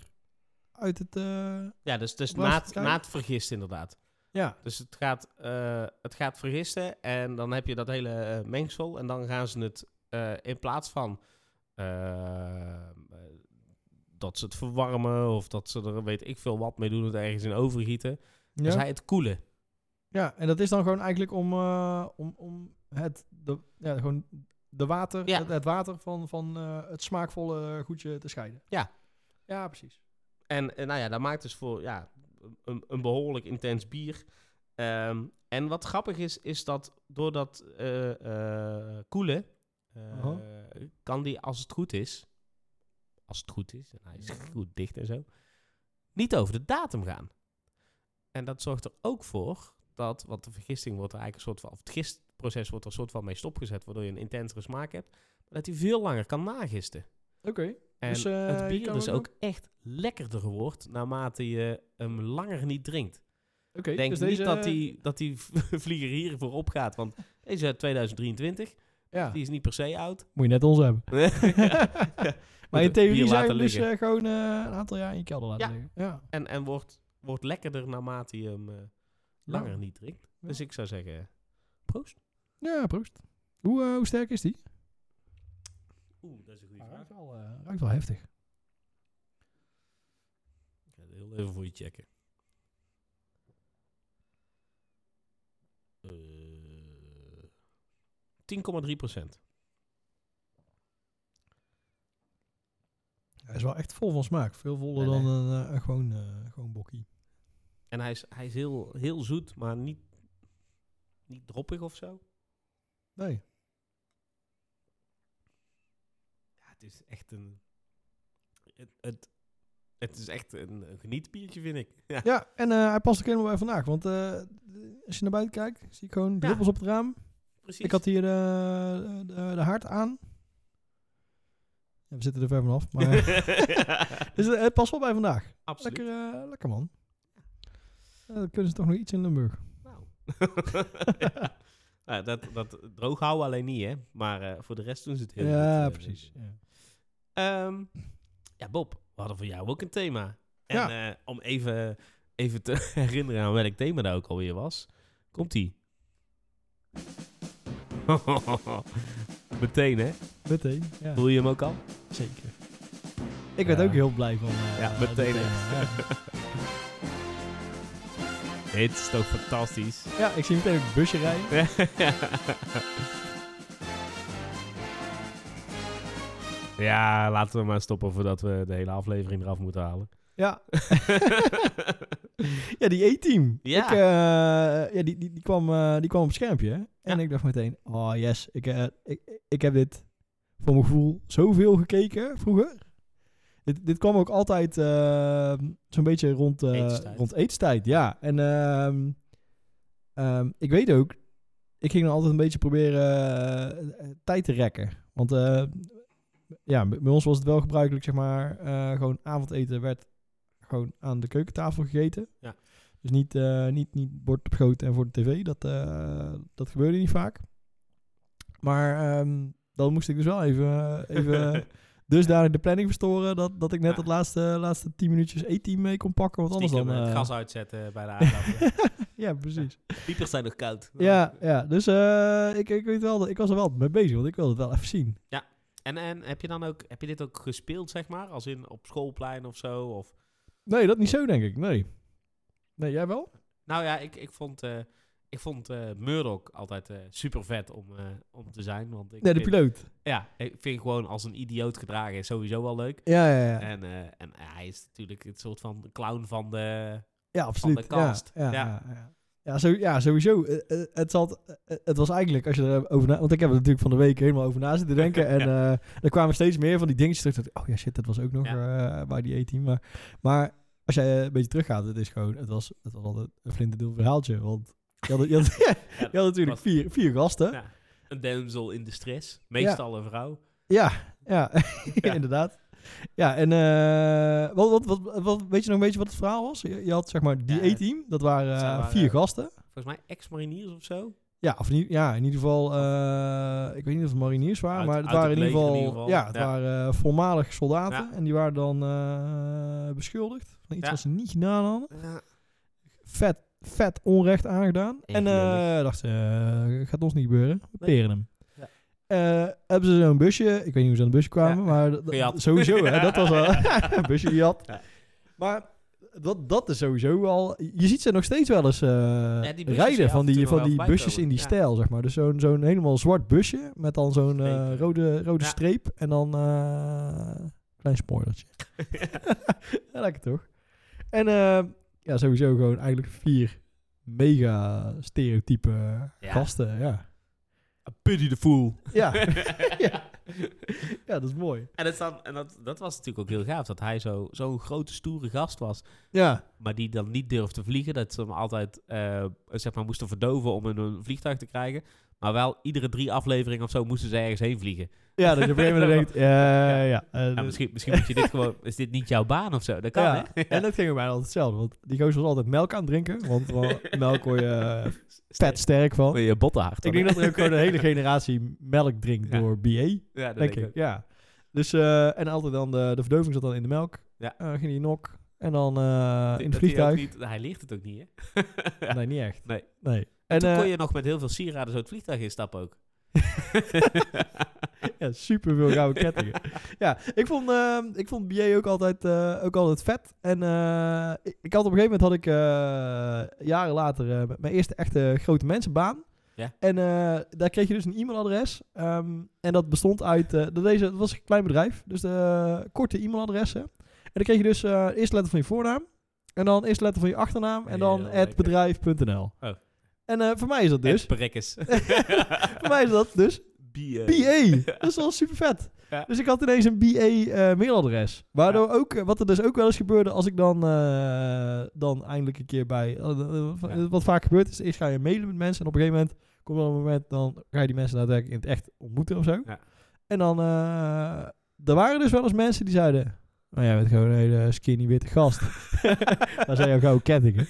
uit het. eh, Ja, dus, dus Was na, het het, koud? na het vergisten inderdaad. ja. Dus het gaat, eh, het gaat vergisten en dan heb je dat hele eh, mengsel. En dan gaan ze het eh, in plaats van eh, dat ze het verwarmen of dat ze er weet ik veel wat mee doen, het ergens in overgieten. Ja. Dus hij het koelen. ja, en dat is dan gewoon eigenlijk om, eh, om, om het. De, ja, gewoon de water, Ja. het, het water van, van eh, het smaakvolle goedje te scheiden. Ja. Ja, precies. En, eh, nou ja, dat maakt dus voor ja, een, een behoorlijk intens bier. Ehm, en wat grappig is, is dat door dat eh, eh, koelen, eh, Aha. kan die als het goed is, als het goed is, en hij is goed dicht en zo, niet over de datum gaan. En dat zorgt er ook voor dat, want de vergisting wordt er eigenlijk een soort van, of het gistproces wordt er een soort van mee stopgezet, waardoor je een intensere smaak hebt, maar dat hij veel langer kan nagisten. Oké. En Dus, eh, je het bier kan dus ook ook echt lekkerder wordt naarmate je hem langer niet drinkt. oké. Ik denk dus niet deze- dat, die, dat die (laughs) vlieger hiervoor opgaat, want deze uit 2023, Ja, die is niet per se oud. moet je net ons (laughs) (laughs) hebben. Maar in Moet het bier theorie zijn we laten dus liggen. eh, gewoon eh, een aantal jaar in je kelder laten Ja. liggen. Ja. En, en (laughs) wordt, wordt lekkerder naarmate je hem eh, langer niet drinkt. Ja. Dus ik zou zeggen, proost. Ja, proost. Hoe, eh, hoe sterk is die? Oeh, dat is een goede Hij ruikt wel, eh, ruikt wel heftig. Ik ga het heel even voor je checken. Eh, 10,3 procent. Hij is wel echt vol van smaak. Veel voller Nee, dan een eh, een gewoon, eh, gewoon bokkie. En hij is, hij is heel, heel zoet, maar niet, niet droppig of zo. Nee. Ja, het is echt een. Het, het, het is echt een, een genietbiertje, vind ik. Ja. Ja, en eh, hij past ook helemaal bij vandaag. Want eh, d- als je naar buiten kijkt, zie ik gewoon druppels op het raam. (laughs) precies. Ik had (laughs) hier eh, de, de, de haard aan. Ja, we zitten er ver vanaf. (laughs) Maar (laughs) dus het, het past wel bij vandaag. Absoluut. Lekker, eh, lekker man. Ja, dan kunnen ze toch nog iets in Limburg. Nou. (laughs) Ja. Nou, dat, dat droog houden alleen niet, hè? Maar eh, voor de rest doen ze het heel goed. ja, eh, precies. Ja. Ehm, ja, Bob, we hadden voor jou ook een thema. En eh, om even, even te (laughs) herinneren aan welk thema dat ook alweer was. Komt-ie. (laughs) Meteen, hè? Meteen. Ja, Voel je hem ook al? zeker. Ik werd Ja. ook heel blij van. eh, Ja, eh, meteen, dit hè. thema. Ja. Dit is toch fantastisch? (laughs) Ja, ik zie meteen een busje rijden. ja, laten we maar stoppen voordat we de hele aflevering eraf moeten halen. Ja, ja die E-team. Ja. Ik, eh, ja die, die, die, kwam, eh, die kwam op het schermpje. hè. En Ja. ik dacht meteen, oh yes, ik, eh, ik, ik heb dit voor mijn gevoel zoveel gekeken vroeger. Dit, dit kwam ook altijd eh, zo'n beetje rond, eh, Etenstijd. rond etenstijd. Ja, en ehm, ehm, ik weet ook, ik ging dan altijd een beetje proberen eh, eh, tijd te rekken. Want eh, ja, bij bij ons was het wel gebruikelijk, zeg maar, eh, gewoon avondeten werd gewoon aan de keukentafel gegeten. Ja. Dus niet, eh, niet, niet bord op schoot en voor de tv. Dat, eh, dat gebeurde niet vaak. Maar ehm, dan moest ik dus wel even, (laughs) eh, even dusdanig de planning verstoren dat, dat ik net Ja. dat laatste, laatste 10 minuutjes E-team mee kon pakken. Want anders Stiekem dan... eh, het eh, (laughs) gas uitzetten bij de aardappelen. ja, precies. Piepers zijn nog koud. Ja, ja dus eh, ik, ik weet wel, dat- ik was er wel mee bezig, want ik wilde het wel even zien. En, en heb je dan ook, heb je dit ook gespeeld, zeg maar? Als in op schoolplein of zo? Of... Nee, dat niet zo, denk ik. Nee. Nee, jij wel? Nou ja, ik, ik vond, eh ik vond eh, Murdoch altijd super vet om, eh, om te zijn. Want ik Nee, de vind- piloot. Ja, ik vind gewoon als een idioot gedragen is sowieso wel leuk. Ja, ja, ja. En, eh, en hij is natuurlijk het soort van clown van de... Ja, absoluut. de cast. Ja, ja, Ja. ja. ja. Ja, zo, ja, sowieso. Eh, eh, het, zat, eh, het was eigenlijk, als je erover na... Want ik heb er natuurlijk van de week helemaal over na (laughs) zitten denken. En eh, er kwamen steeds meer van die dingetjes terug. Dat ik, oh ja, shit, dat was ook nog eh, bij die E-team. Maar, maar als jij eh, een beetje teruggaat, het is gewoon... Het was, het was altijd een flinterdeel verhaaltje. Want je had, je (laughs) had, (laughs) je had natuurlijk was- vier, vier gasten. Ja, een damsel in de stress. Meestal een vrouw. Ja, ja, (laughs) Ja. inderdaad. Ja, en eh, wat, wat, wat, wat- weet je nog een beetje wat het verhaal was? Je, je had zeg maar die Ja, E-team, dat waren dat eh, waren- vier gasten. Volgens mij ex-mariniers of zo. Ja, of niet, ja, in ieder geval, eh, ik weet niet of het mariniers waren, Uit- maar het uit het waren in ieder leger geval, in ieder geval, ja, het ja. waren eh, voormalig soldaten. Ja. En die waren dan eh, beschuldigd van iets Ja. wat ze niet gedaan hadden. (laughs) Ja. Vet, vet onrecht aangedaan. En Egenlullig. eh dachten, eh, gaat ons niet gebeuren, we peren hem. Ja. Eh, hebben ze zo'n busje, ik weet niet hoe ze aan het busje kwamen, Ja. (laughs) maar dat- dat- Gejat. sowieso, hè, dat was wel (laughs) een busje gejat. Ja. Maar dat, dat is sowieso al. Je ziet ze nog steeds wel eens eh, die busjes zie rijden je af van en toe die, nog van wel die voorbij busjes in die komen. Ja. stijl, zeg maar. Dus zo'n zo'n helemaal zwart busje met dan zo'n eh, Streep. rode, rode Ja. streep en dan eh klein spoilertje. (laughs) ja, lekker toch? En eh, ja, sowieso gewoon eigenlijk vier mega stereotype eh, Ja. gasten. Ja. Pity the fool. (laughs) Ja. ja. ja, dat is mooi. En, het dan, en dat, dat was natuurlijk ook heel gaaf, dat hij zo- zo'n grote, stoere gast was. Ja. Maar die dan niet durfde te vliegen. Dat ze hem altijd eh, zeg maar, moesten verdoven om in een vliegtuig te krijgen. Maar wel iedere drie afleveringen of zo moesten ze ergens heen vliegen. Ja, dat je op een gegeven moment denkt, eh, (laughs) ja. eh, Ja, misschien, misschien moet je dit gewoon... Is dit niet jouw baan of zo? Dat kan, (laughs) ja. hè? (laughs) En dat ging bij mij altijd hetzelfde. Want die gozer was altijd melk aan het drinken. Want wel- (laughs) melk word je eh, vet sterk van. Wil je botten hard Ik dan, denk dat er ook gewoon een hele generatie melk drinkt Ja. door BA. hè? (laughs) Ja, dat Denk ik, ja. Dus, eh, en altijd dan de, de verdoving zat dan in de melk. Ja. Eh, ging die nok. En dan eh, Dat in hij het ook vliegtuig. niet- hij ligt het ook niet, hè? (laughs) Nee, niet echt. Nee. En En toen eh kon je nog met heel veel sieraden zo het vliegtuig instappen (laughs) ook. (laughs) ja, super veel (laughs) gouden kettingen. ja, ik vond, eh, ik vond BA ook altijd, eh, ook altijd vet. En eh, ik, ik had op een gegeven moment had ik eh, jaren later eh, met mijn eerste echte grote mensenbaan. Ja. En eh, daar kreeg je dus een e-mailadres. Ehm, en dat bestond uit. eh, dat, deze, dat was een klein bedrijf. Dus eh, korte e-mailadressen. En dan kreeg je dus eh eerste letter van je voornaam. En dan eerste letter van je achternaam. En dan Heel het bedrijf.nl. Oh. En eh, voor mij is dat dus. En perrekkes. (laughs) Voor mij is (laughs) dat dus BA. (laughs) BA. Dat is wel super vet. eh, Ja. Dus ik had ineens een BA eh, mailadres. Waardoor ook, eh, wat er dus ook wel eens gebeurde als ik dan, eh, dan eindelijk een keer bij. eh, eh, Ja. Wat vaak gebeurt is, eerst ga je mailen met mensen en op een gegeven moment komt er een moment, dan ga je die mensen daadwerkelijk in het echt ontmoeten of zo. Ja. En dan, eh, er waren dus wel eens mensen die zeiden, nou jij bent gewoon een hele skinny witte (laughs) gast. Daar zijn jouw gouden kettingen.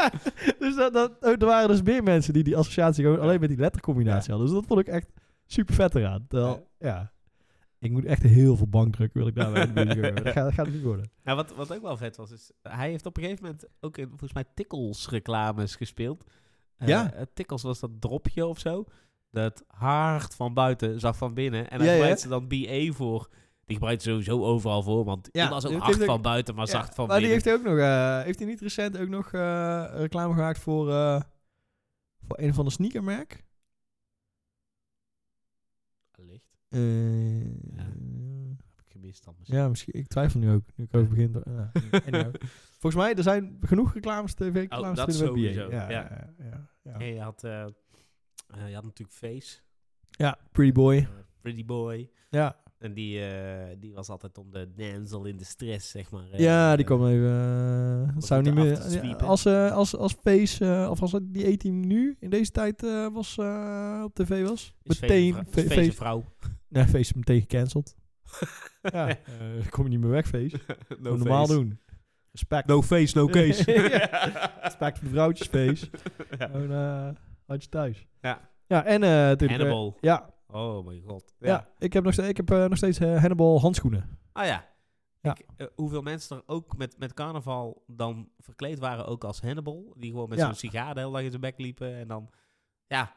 (laughs) dus dat, dat, er waren dus meer mensen die die associatie gewoon alleen met die lettercombinatie hadden. Dus dat vond ik echt super vet eraan. Terwijl, ja. ik moet echt heel veel bankdruk wil ik (laughs) daarmee in de buurt hebben. Dat gaat, dat gaat het niet worden. Nou, wat, wat ook wel vet was, is hij heeft op een gegeven moment ook in, volgens mij Tikkels reclames gespeeld. Eh, Ja. eh, Tikkels was dat dropje of zo. Dat hard van buiten zag van binnen. En hij Ja, ja. gebruikte dan BA voor. Die gebruikt sowieso overal voor, want Ja, die was ook het hard heeft ook- van buiten, maar zacht van maar die binnen. heeft hij ook nog, eh, heeft hij niet recent ook nog eh, reclame gemaakt voor, eh, voor een van de sneakermerk? Allicht. Eh, Ja. Heb ik gemist dan misschien. ja, (laughs) misschien. Ik twijfel nu ook. Nu ik over begin. Ja, (laughs) anyhow. Volgens mij, er zijn genoeg reclames, eh, tv-reclames. Oh, dat binnen bij BA. sowieso, Ja, ja. ja, ja, ja. En je had, eh, eh, je had natuurlijk Face. Ja, pretty boy. eh, pretty Boy. Ja, En die, eh, die was altijd om de damsel in de stress, zeg maar. eh, ja die eh, kwam even... eh, het zou niet er af meer... te sweepen. als, eh, als, als Face, eh, of als die A-team nu in deze tijd eh, was, eh, op tv was, is Face een meteen... vrou- is Fe- Face een Face- vrouw. (laughs) Nee, Face is meteen gecanceld. Ja, eh, kom je niet meer weg, feest. no Moet normaal face. (laughs) doen. Respect. No face, no case. (laughs) Ja. Respect voor de vrouwtjes, feest. (laughs) Ja. Gewoon eh, had je thuis. Ja. Ja, en eh, natuurlijk... eh, Hannibal. ja, Oh mijn god. ja. ik heb nog steeds, ik heb, eh, nog steeds eh, Hannibal handschoenen. (laughs) Ah ja. Ja. Ik, eh, hoeveel mensen er ook met, met carnaval dan verkleed waren, ook als Hannibal. Die gewoon met Ja. zo'n sigaar de hele dag in zijn bek liepen. En dan, ja.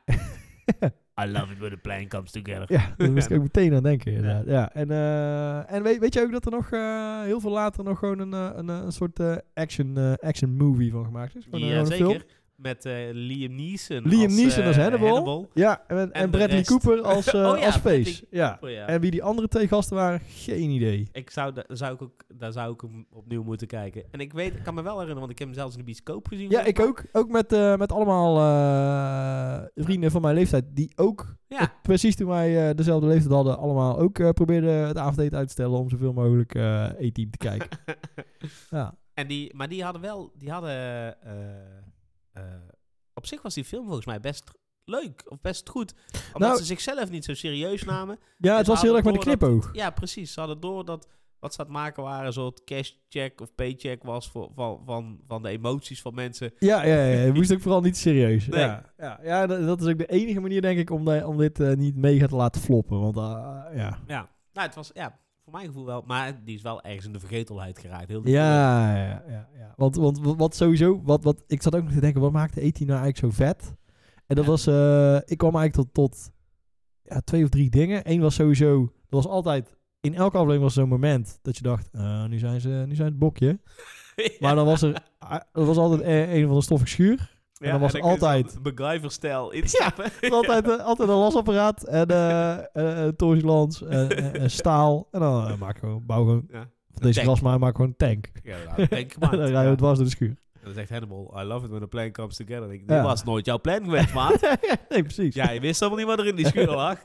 I love it when the plan comes (laughs) together. Ja, daar moest ik ook meteen aan denken. inderdaad. Ja. Ja. En, eh, en weet, weet je ook dat er nog eh, heel veel later nog gewoon een, eh, een, eh, een soort eh, action, eh, action movie van gemaakt is? Gewoon, eh, een- Ja, gewoon een film. zeker. Met eh, Liam Neeson Liam als, Neeson eh, als Hannibal. Hannibal. Ja, en, en, En de Bradley rest. Cooper (laughs) als, eh Oh ja, als Face. Bradley Ja. Oh, ja. En wie die andere twee gasten waren, geen idee. Ik zou, da- zou ik ook, daar zou ik hem opnieuw moeten kijken. En ik weet, ik kan me wel herinneren, want ik heb hem zelfs in de bioscoop gezien. Ja, volgens ik ook. Ook met, eh, met allemaal eh, vrienden van mijn leeftijd die ook, mij. Ja, precies toen wij eh, dezelfde leeftijd hadden, allemaal ook eh, probeerden het avondeten uit te stellen om zoveel mogelijk eh E-team te kijken. ja. En die, maar die hadden wel, die hadden, eh, eh, op zich was die film volgens mij best leuk, of best goed. Omdat Nou- ze zichzelf niet zo serieus namen. ja, het ze was heel erg hadden met een door dat- knipoog. Ja, precies. Ze hadden door dat wat ze aan het maken waren, een soort cash check of paycheck was voor, van, van, van de emoties van mensen. Ja, ja, ja, ja. moest ook vooral niet serieus. Nee. Ja, ja, ja dat, dat is ook de enige manier, denk ik, om, da- om dit eh, niet mega te laten floppen. Want eh, ja. Ja. Nou, het was, ja, voor mijn gevoel wel, maar die is wel ergens in de vergetelheid geraakt. Heel die film. Ja, ja, ja, ja. Want, want wa- wat sowieso, wat, wat, ik zat ook nog te denken, wat maakte 18 nou eigenlijk zo vet? En dat Ja. was, eh, ik kwam eigenlijk tot, tot ja, twee of drie dingen. Eén was sowieso, er was altijd, in elke aflevering was zo'n moment dat je dacht, eh, nu, zijn ze, nu zijn het bokje. (laughs) Maar dan was er, ah, er was altijd eh, een van de stoffig schuur. Ja, en dan was kun je altijd- zo'n (laughs) MacGyver-stijl instappen. Er was Altijd, eh, altijd een lasapparaat en eh eh, een torsielans en, en- (laughs) en staal. En dan eh, maak gewoon, bouw gewoon, Ja. van deze tank. grasmaaier maak gewoon een tank. Ja, nou, denk En maar. (laughs) dan rijden we dwars door de schuur. En dan zegt Hannibal, I love it when a plan comes together. Ik, dit Ja. was nooit jouw plan geweest, (laughs) maat. nee, precies. Jij wist helemaal niet wat er in die (laughs) schuur lag.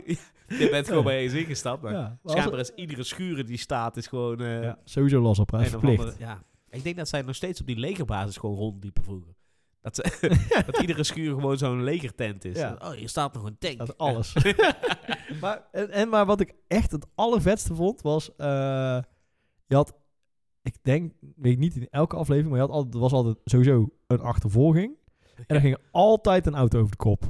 je bent gewoon Ja. bij eens ingestapt. Maar Ja, maar als- schijnbaar is iedere schuur die staat, is gewoon... eh, Ja, sowieso last op, hè? een of andere- Verplicht. ja. Ik denk dat zij nog steeds op die legerbasis gewoon rondliepen vroeger. Dat, ze, (laughs) (laughs) dat iedere schuur gewoon zo'n legertent is. Ja. Oh, hier staat nog een tank. (laughs) Dat (laughs) is alles. maar, en, en maar wat ik echt het allervetste vond was. eh, je had, ik denk, weet ik niet in elke aflevering, maar je had altijd, er was altijd sowieso een achtervolging. En er ging altijd een auto over de kop.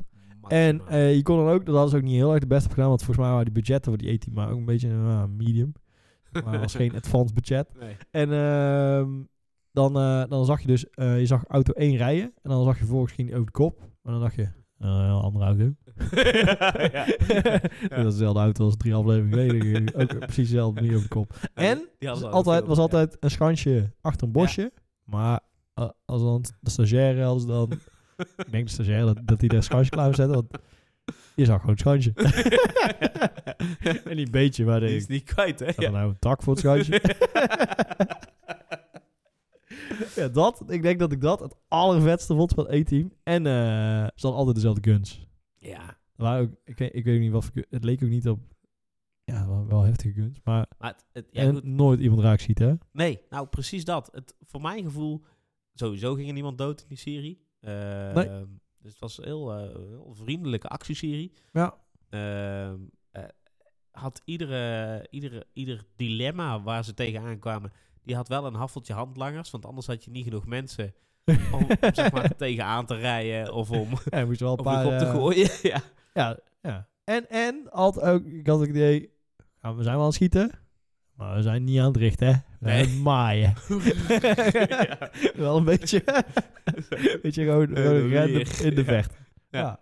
En Maximaal. eh, je kon dan ook, dat hadden ze ook niet heel erg de beste op gedaan, want volgens mij waren die budgetten voor die 18 maar ook een beetje eh, medium. Maar het was geen advanced budget. Nee. (laughs) En ehm, dan, eh, dan zag je dus, eh, je zag auto 1 rijden. En dan zag je vervolgens ging die over de kop. En dan dacht je, eh, een heel andere auto. Ja. (laughs) Dat is dezelfde auto als drie afleveringen geleden. ook precies dezelfde manier op de kop. En Die hadden Het ze was al in de altijd, film, was ja. altijd een schansje achter een bosje. Maar eh, als dan de stagiaire als dan... ik denk de stagiaire dat, dat die daar een schansje klaar moet zetten. Want je zag gewoon het schansje. (laughs) en die beetje (laughs) waar Die de... is niet kwijt, hè? Staat er nou een tak voor het (laughs) schansje? ja, dat. Ik denk dat ik dat het allervetste vond van E-team. En eh ze hadden altijd dezelfde guns. Ja. Er waren ook, ik, weet- ik weet ook niet wat voor gun- Het leek ook niet op... Ja, het waren wel heftige guns. Maar Maar het, het- ja, en goed. nooit iemand raak ziet, hè? Nee, nou precies dat. Het, voor mijn gevoel, sowieso ging er niemand dood in die serie. Eh, Nee. Dus het was een heel, eh, heel vriendelijke actieserie. Ja. Ehm, eh, had iedere, iedere, ieder dilemma waar ze tegenaan kwamen, die had wel een haffeltje handlangers. Want anders had je niet genoeg mensen om, om, zeg maar, tegenaan te rijden of om (laughs) Ja, je moest wel een of paar... op te eh, gooien. ja. (laughs) (laughs) Ja, ja. En, en, altijd ook, ik had het idee, ja, we zijn wel aan het schieten, maar we zijn niet aan het richten, hè. We zijn Nee. aan het maaien. wel een beetje, weet je, gewoon, Eh, gewoon de random wier. in de (laughs) Ja. vecht. Ja. Ja.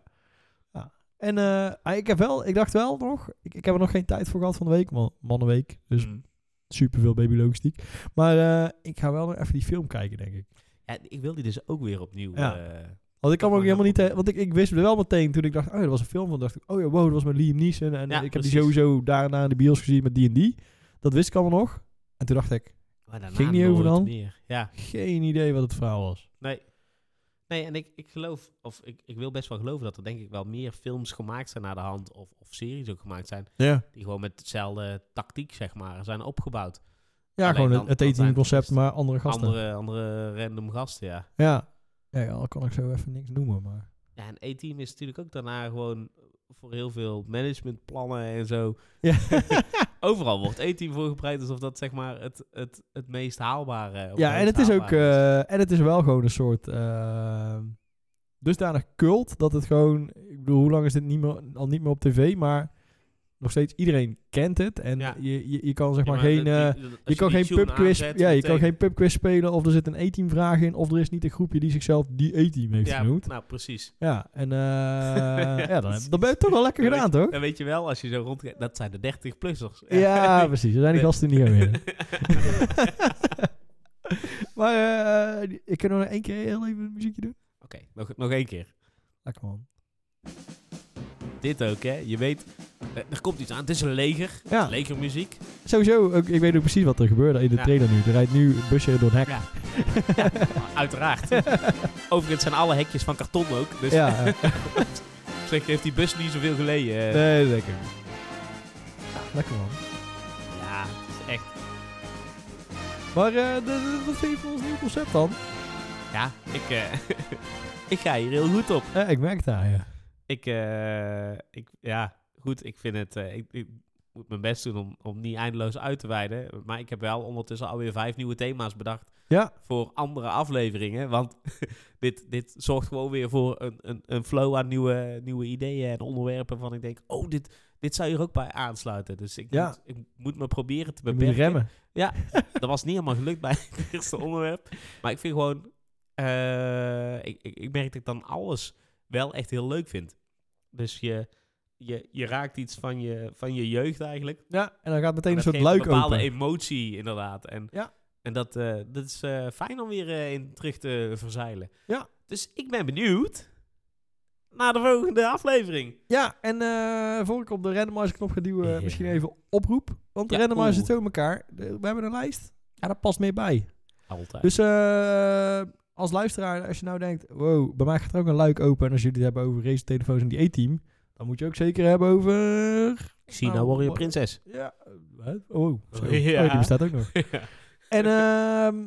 ja. En eh, ah, ik heb wel, ik dacht wel nog, ik, ik heb er nog geen tijd voor gehad van de week, man, mannenweek, (laughs) dus Mm. superveel babylogistiek. Maar eh, ik ga wel nog even die film kijken, denk ik. Ja, ik wil die dus ook weer opnieuw. Ja. eh, Want ik kan me Dat ook mag helemaal ook. niet... eh, Want ik, ik wist wel meteen toen ik dacht... Oh, ja, dat was een film. Van dacht ik... Oh ja, wow, dat was met Liam Neeson. En Ja, eh, ik heb die precies. sowieso daarna in de bios gezien met die en die. Dat wist ik allemaal nog. En toen dacht ik... maar daarna Ging niet over nooit dan? meer. Ja. Geen idee wat het verhaal was. Nee. Nee, en ik, ik geloof, of ik, ik wil best wel geloven dat er denk ik wel meer films gemaakt zijn naar de hand, of, of series ook gemaakt zijn, Ja. die gewoon met hetzelfde tactiek, zeg maar, zijn opgebouwd. Ja, Alleen gewoon dan- het- het dan eten zijn het concept, dus maar andere gasten. Andere, andere random gasten, ja. Ja. Ja, ja, al kan ik zo even niks noemen, maar... Ja, en A-Team (laughs) is natuurlijk ook daarna gewoon voor heel veel managementplannen en zo. Ja. Overal wordt E-team voor gebruikt alsof dat zeg maar het, het, het meest haalbare. of Ja, en meest het is ook haalbare is. eh, en het is wel gewoon een soort eh, dusdanig cult dat het gewoon, ik bedoel, hoe lang is dit niet meer, al niet meer op tv, maar nog steeds iedereen kent het en Ja. je, je, je kan zeg Ja, maar, maar geen, dat- die- dat- eh, als je kan die geen tune pubquiz, aanzet, ja, je kan betekent- geen pubquiz spelen of er zit een E-team vraag in of er is niet een groepje die zichzelf die E-team heeft Ja, genoemd. nou precies. Ja, en eh, (laughs) ja, dan, precies. dan ben je het toch wel lekker Dan gedaan, toch? En weet je wel, als je zo rondkijkt, dat zijn de 30-plussers. (laughs) Ja, precies. Er zijn die Nee. gasten niet meer. (laughs) maar eh, ik kan nog één keer heel even een muziekje doen. (laughs) Oké, nog, nog één keer. Lekker man. Dit ook, hè. Je weet, eh, er komt iets aan. Het is een leger. Ja, Legermuziek. sowieso. Ook, ik weet ook precies wat er gebeurde in de Ja. trailer nu. Er rijdt nu een busje door een hek. Ja. (laughs) Uiteraard. Overigens zijn alle hekjes van karton ook. (laughs) Dus Ja, eh, zeg, heeft die bus niet zoveel geleden. eh. nee, lekker. Lekker man. Ja, het is echt... Maar eh, de- de- wat vind je van ons nieuw concept dan? Ja, ik, eh, (laughs) ik ga hier heel goed op. Eh, ik merk daar, ja. Ik, eh, ik, ja, goed, ik vind het... eh, ik, ik moet mijn best doen om, om niet eindeloos uit te wijden. Maar ik heb wel ondertussen alweer vijf nieuwe thema's bedacht. Ja. Voor andere afleveringen. Want (laughs) dit, dit zorgt gewoon weer voor een, een, een flow aan nieuwe, nieuwe ideeën en onderwerpen. Van ik denk, oh, dit, dit zou hier ook bij aansluiten. Dus ik, Ja. moet, ik moet me proberen te We beperken. moeten remmen. Dat was niet helemaal gelukt bij het (laughs) eerste onderwerp. Maar ik vind gewoon... eh, ik, ik, ik merk dat ik dan alles wel echt heel leuk vind. Dus je, je, je raakt iets van je, van je jeugd eigenlijk. Ja, en dan gaat meteen een Dat soort geeft luik een bepaalde open. emotie inderdaad. En, Ja. en dat, eh, dat is eh, fijn om weer eh, in terug te verzeilen. Ja. Dus ik ben benieuwd naar de volgende aflevering. Ja, en eh, voor ik op de randomizer knop ga duwen, Ja. misschien even oproep. Want de Ja, randomizer oeh. zit zo in elkaar. De- we hebben een lijst. Ja, daar past meer bij. Altijd. Dus eh, als luisteraar, als je nou denkt, wow, bij mij gaat er ook een luik open. En als jullie het hebben over race telefoons en die E-team, dan moet je ook zeker hebben over... ik zie nou, nou Warrior wa- (laughs) Prinses. Ja, eh, oh, zo. Ja. Oh, die bestaat ook nog. En ehm,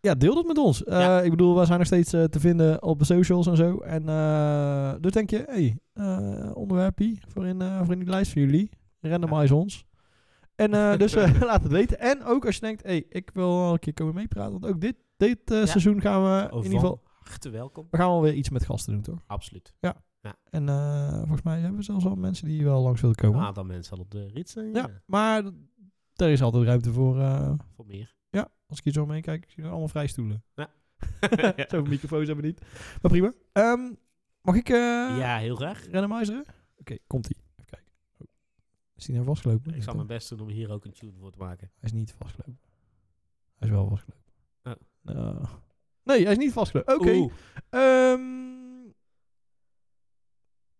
ja, deel dat met ons. Eh, Ja. Ik bedoel, we zijn nog steeds eh, te vinden op de socials en zo. En eh, dus denk je, hé, hey, eh, onderwerpje voor in, eh, voor in die lijst van jullie. Randomize ons. En eh, (laughs) dus eh, laat het weten. En ook als je denkt, hé, hey, ik wil wel een keer komen meepraten. Want ook dit, dit eh, seizoen gaan we Oh, in ieder geval... Hartelijk welkom. We gaan wel weer iets met gasten doen, toch? Absoluut. En eh, volgens mij hebben we zelfs al mensen die wel langs willen komen. Een aantal mensen al op de rit zijn. ja. Ah, Ja. maar er is altijd ruimte voor... eh, Voor meer. ja, als ik hier zo omheen kijk, ik zie er allemaal vrij stoelen. (laughs) ja. Zoveel microfoons hebben we niet. Maar prima. Ehm, mag ik eh Ja, heel graag. randomizeren? Oké, komt-ie. Even kijken. Oh. Is die nou vastgelopen? Ik zal mijn best doen om hier ook een tune voor te maken. Hij is niet vastgelopen. Hij is wel vastgelopen. Oh. Nou. Nee, hij is niet vastgelopen. Oké. Oeh, Ehm,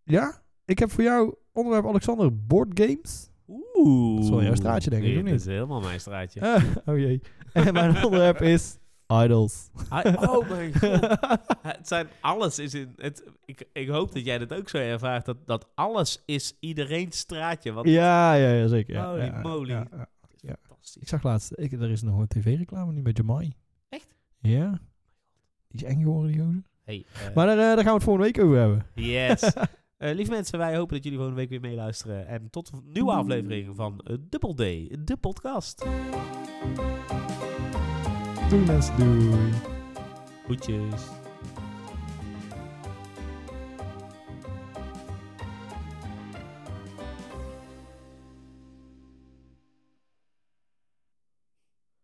ja, ik heb voor jou onderwerp Alexander board games. Oeh. Dat is wel jouw straatje, denk ik, Nee, of niet? Dat is helemaal mijn straatje. Eh, oh jee. En (laughs) mijn onderwerp is idols. Hi- oh mijn god. (laughs) Het zijn alles is in. Het, ik, ik hoop dat jij dat ook zo ervaart. Dat, dat alles is iedereen straatje. Want ja, ja, ja, zeker. Ja, Holy ja, moly. ja, ja. het is ja. Ik fantastisch. zag laatst, ik, er is nog een tv-reclame nu met Jamai. Echt? Ja. Die is eng geworden, die gozer. Hey, eh, Maar daar, eh, daar gaan we het volgende week over hebben. (laughs) yes. Eh, lieve mensen, wij hopen dat jullie volgende week weer meeluisteren. En tot een nieuwe aflevering van eh, Double Day, de podcast. Doei mensen, doei. Goedjes.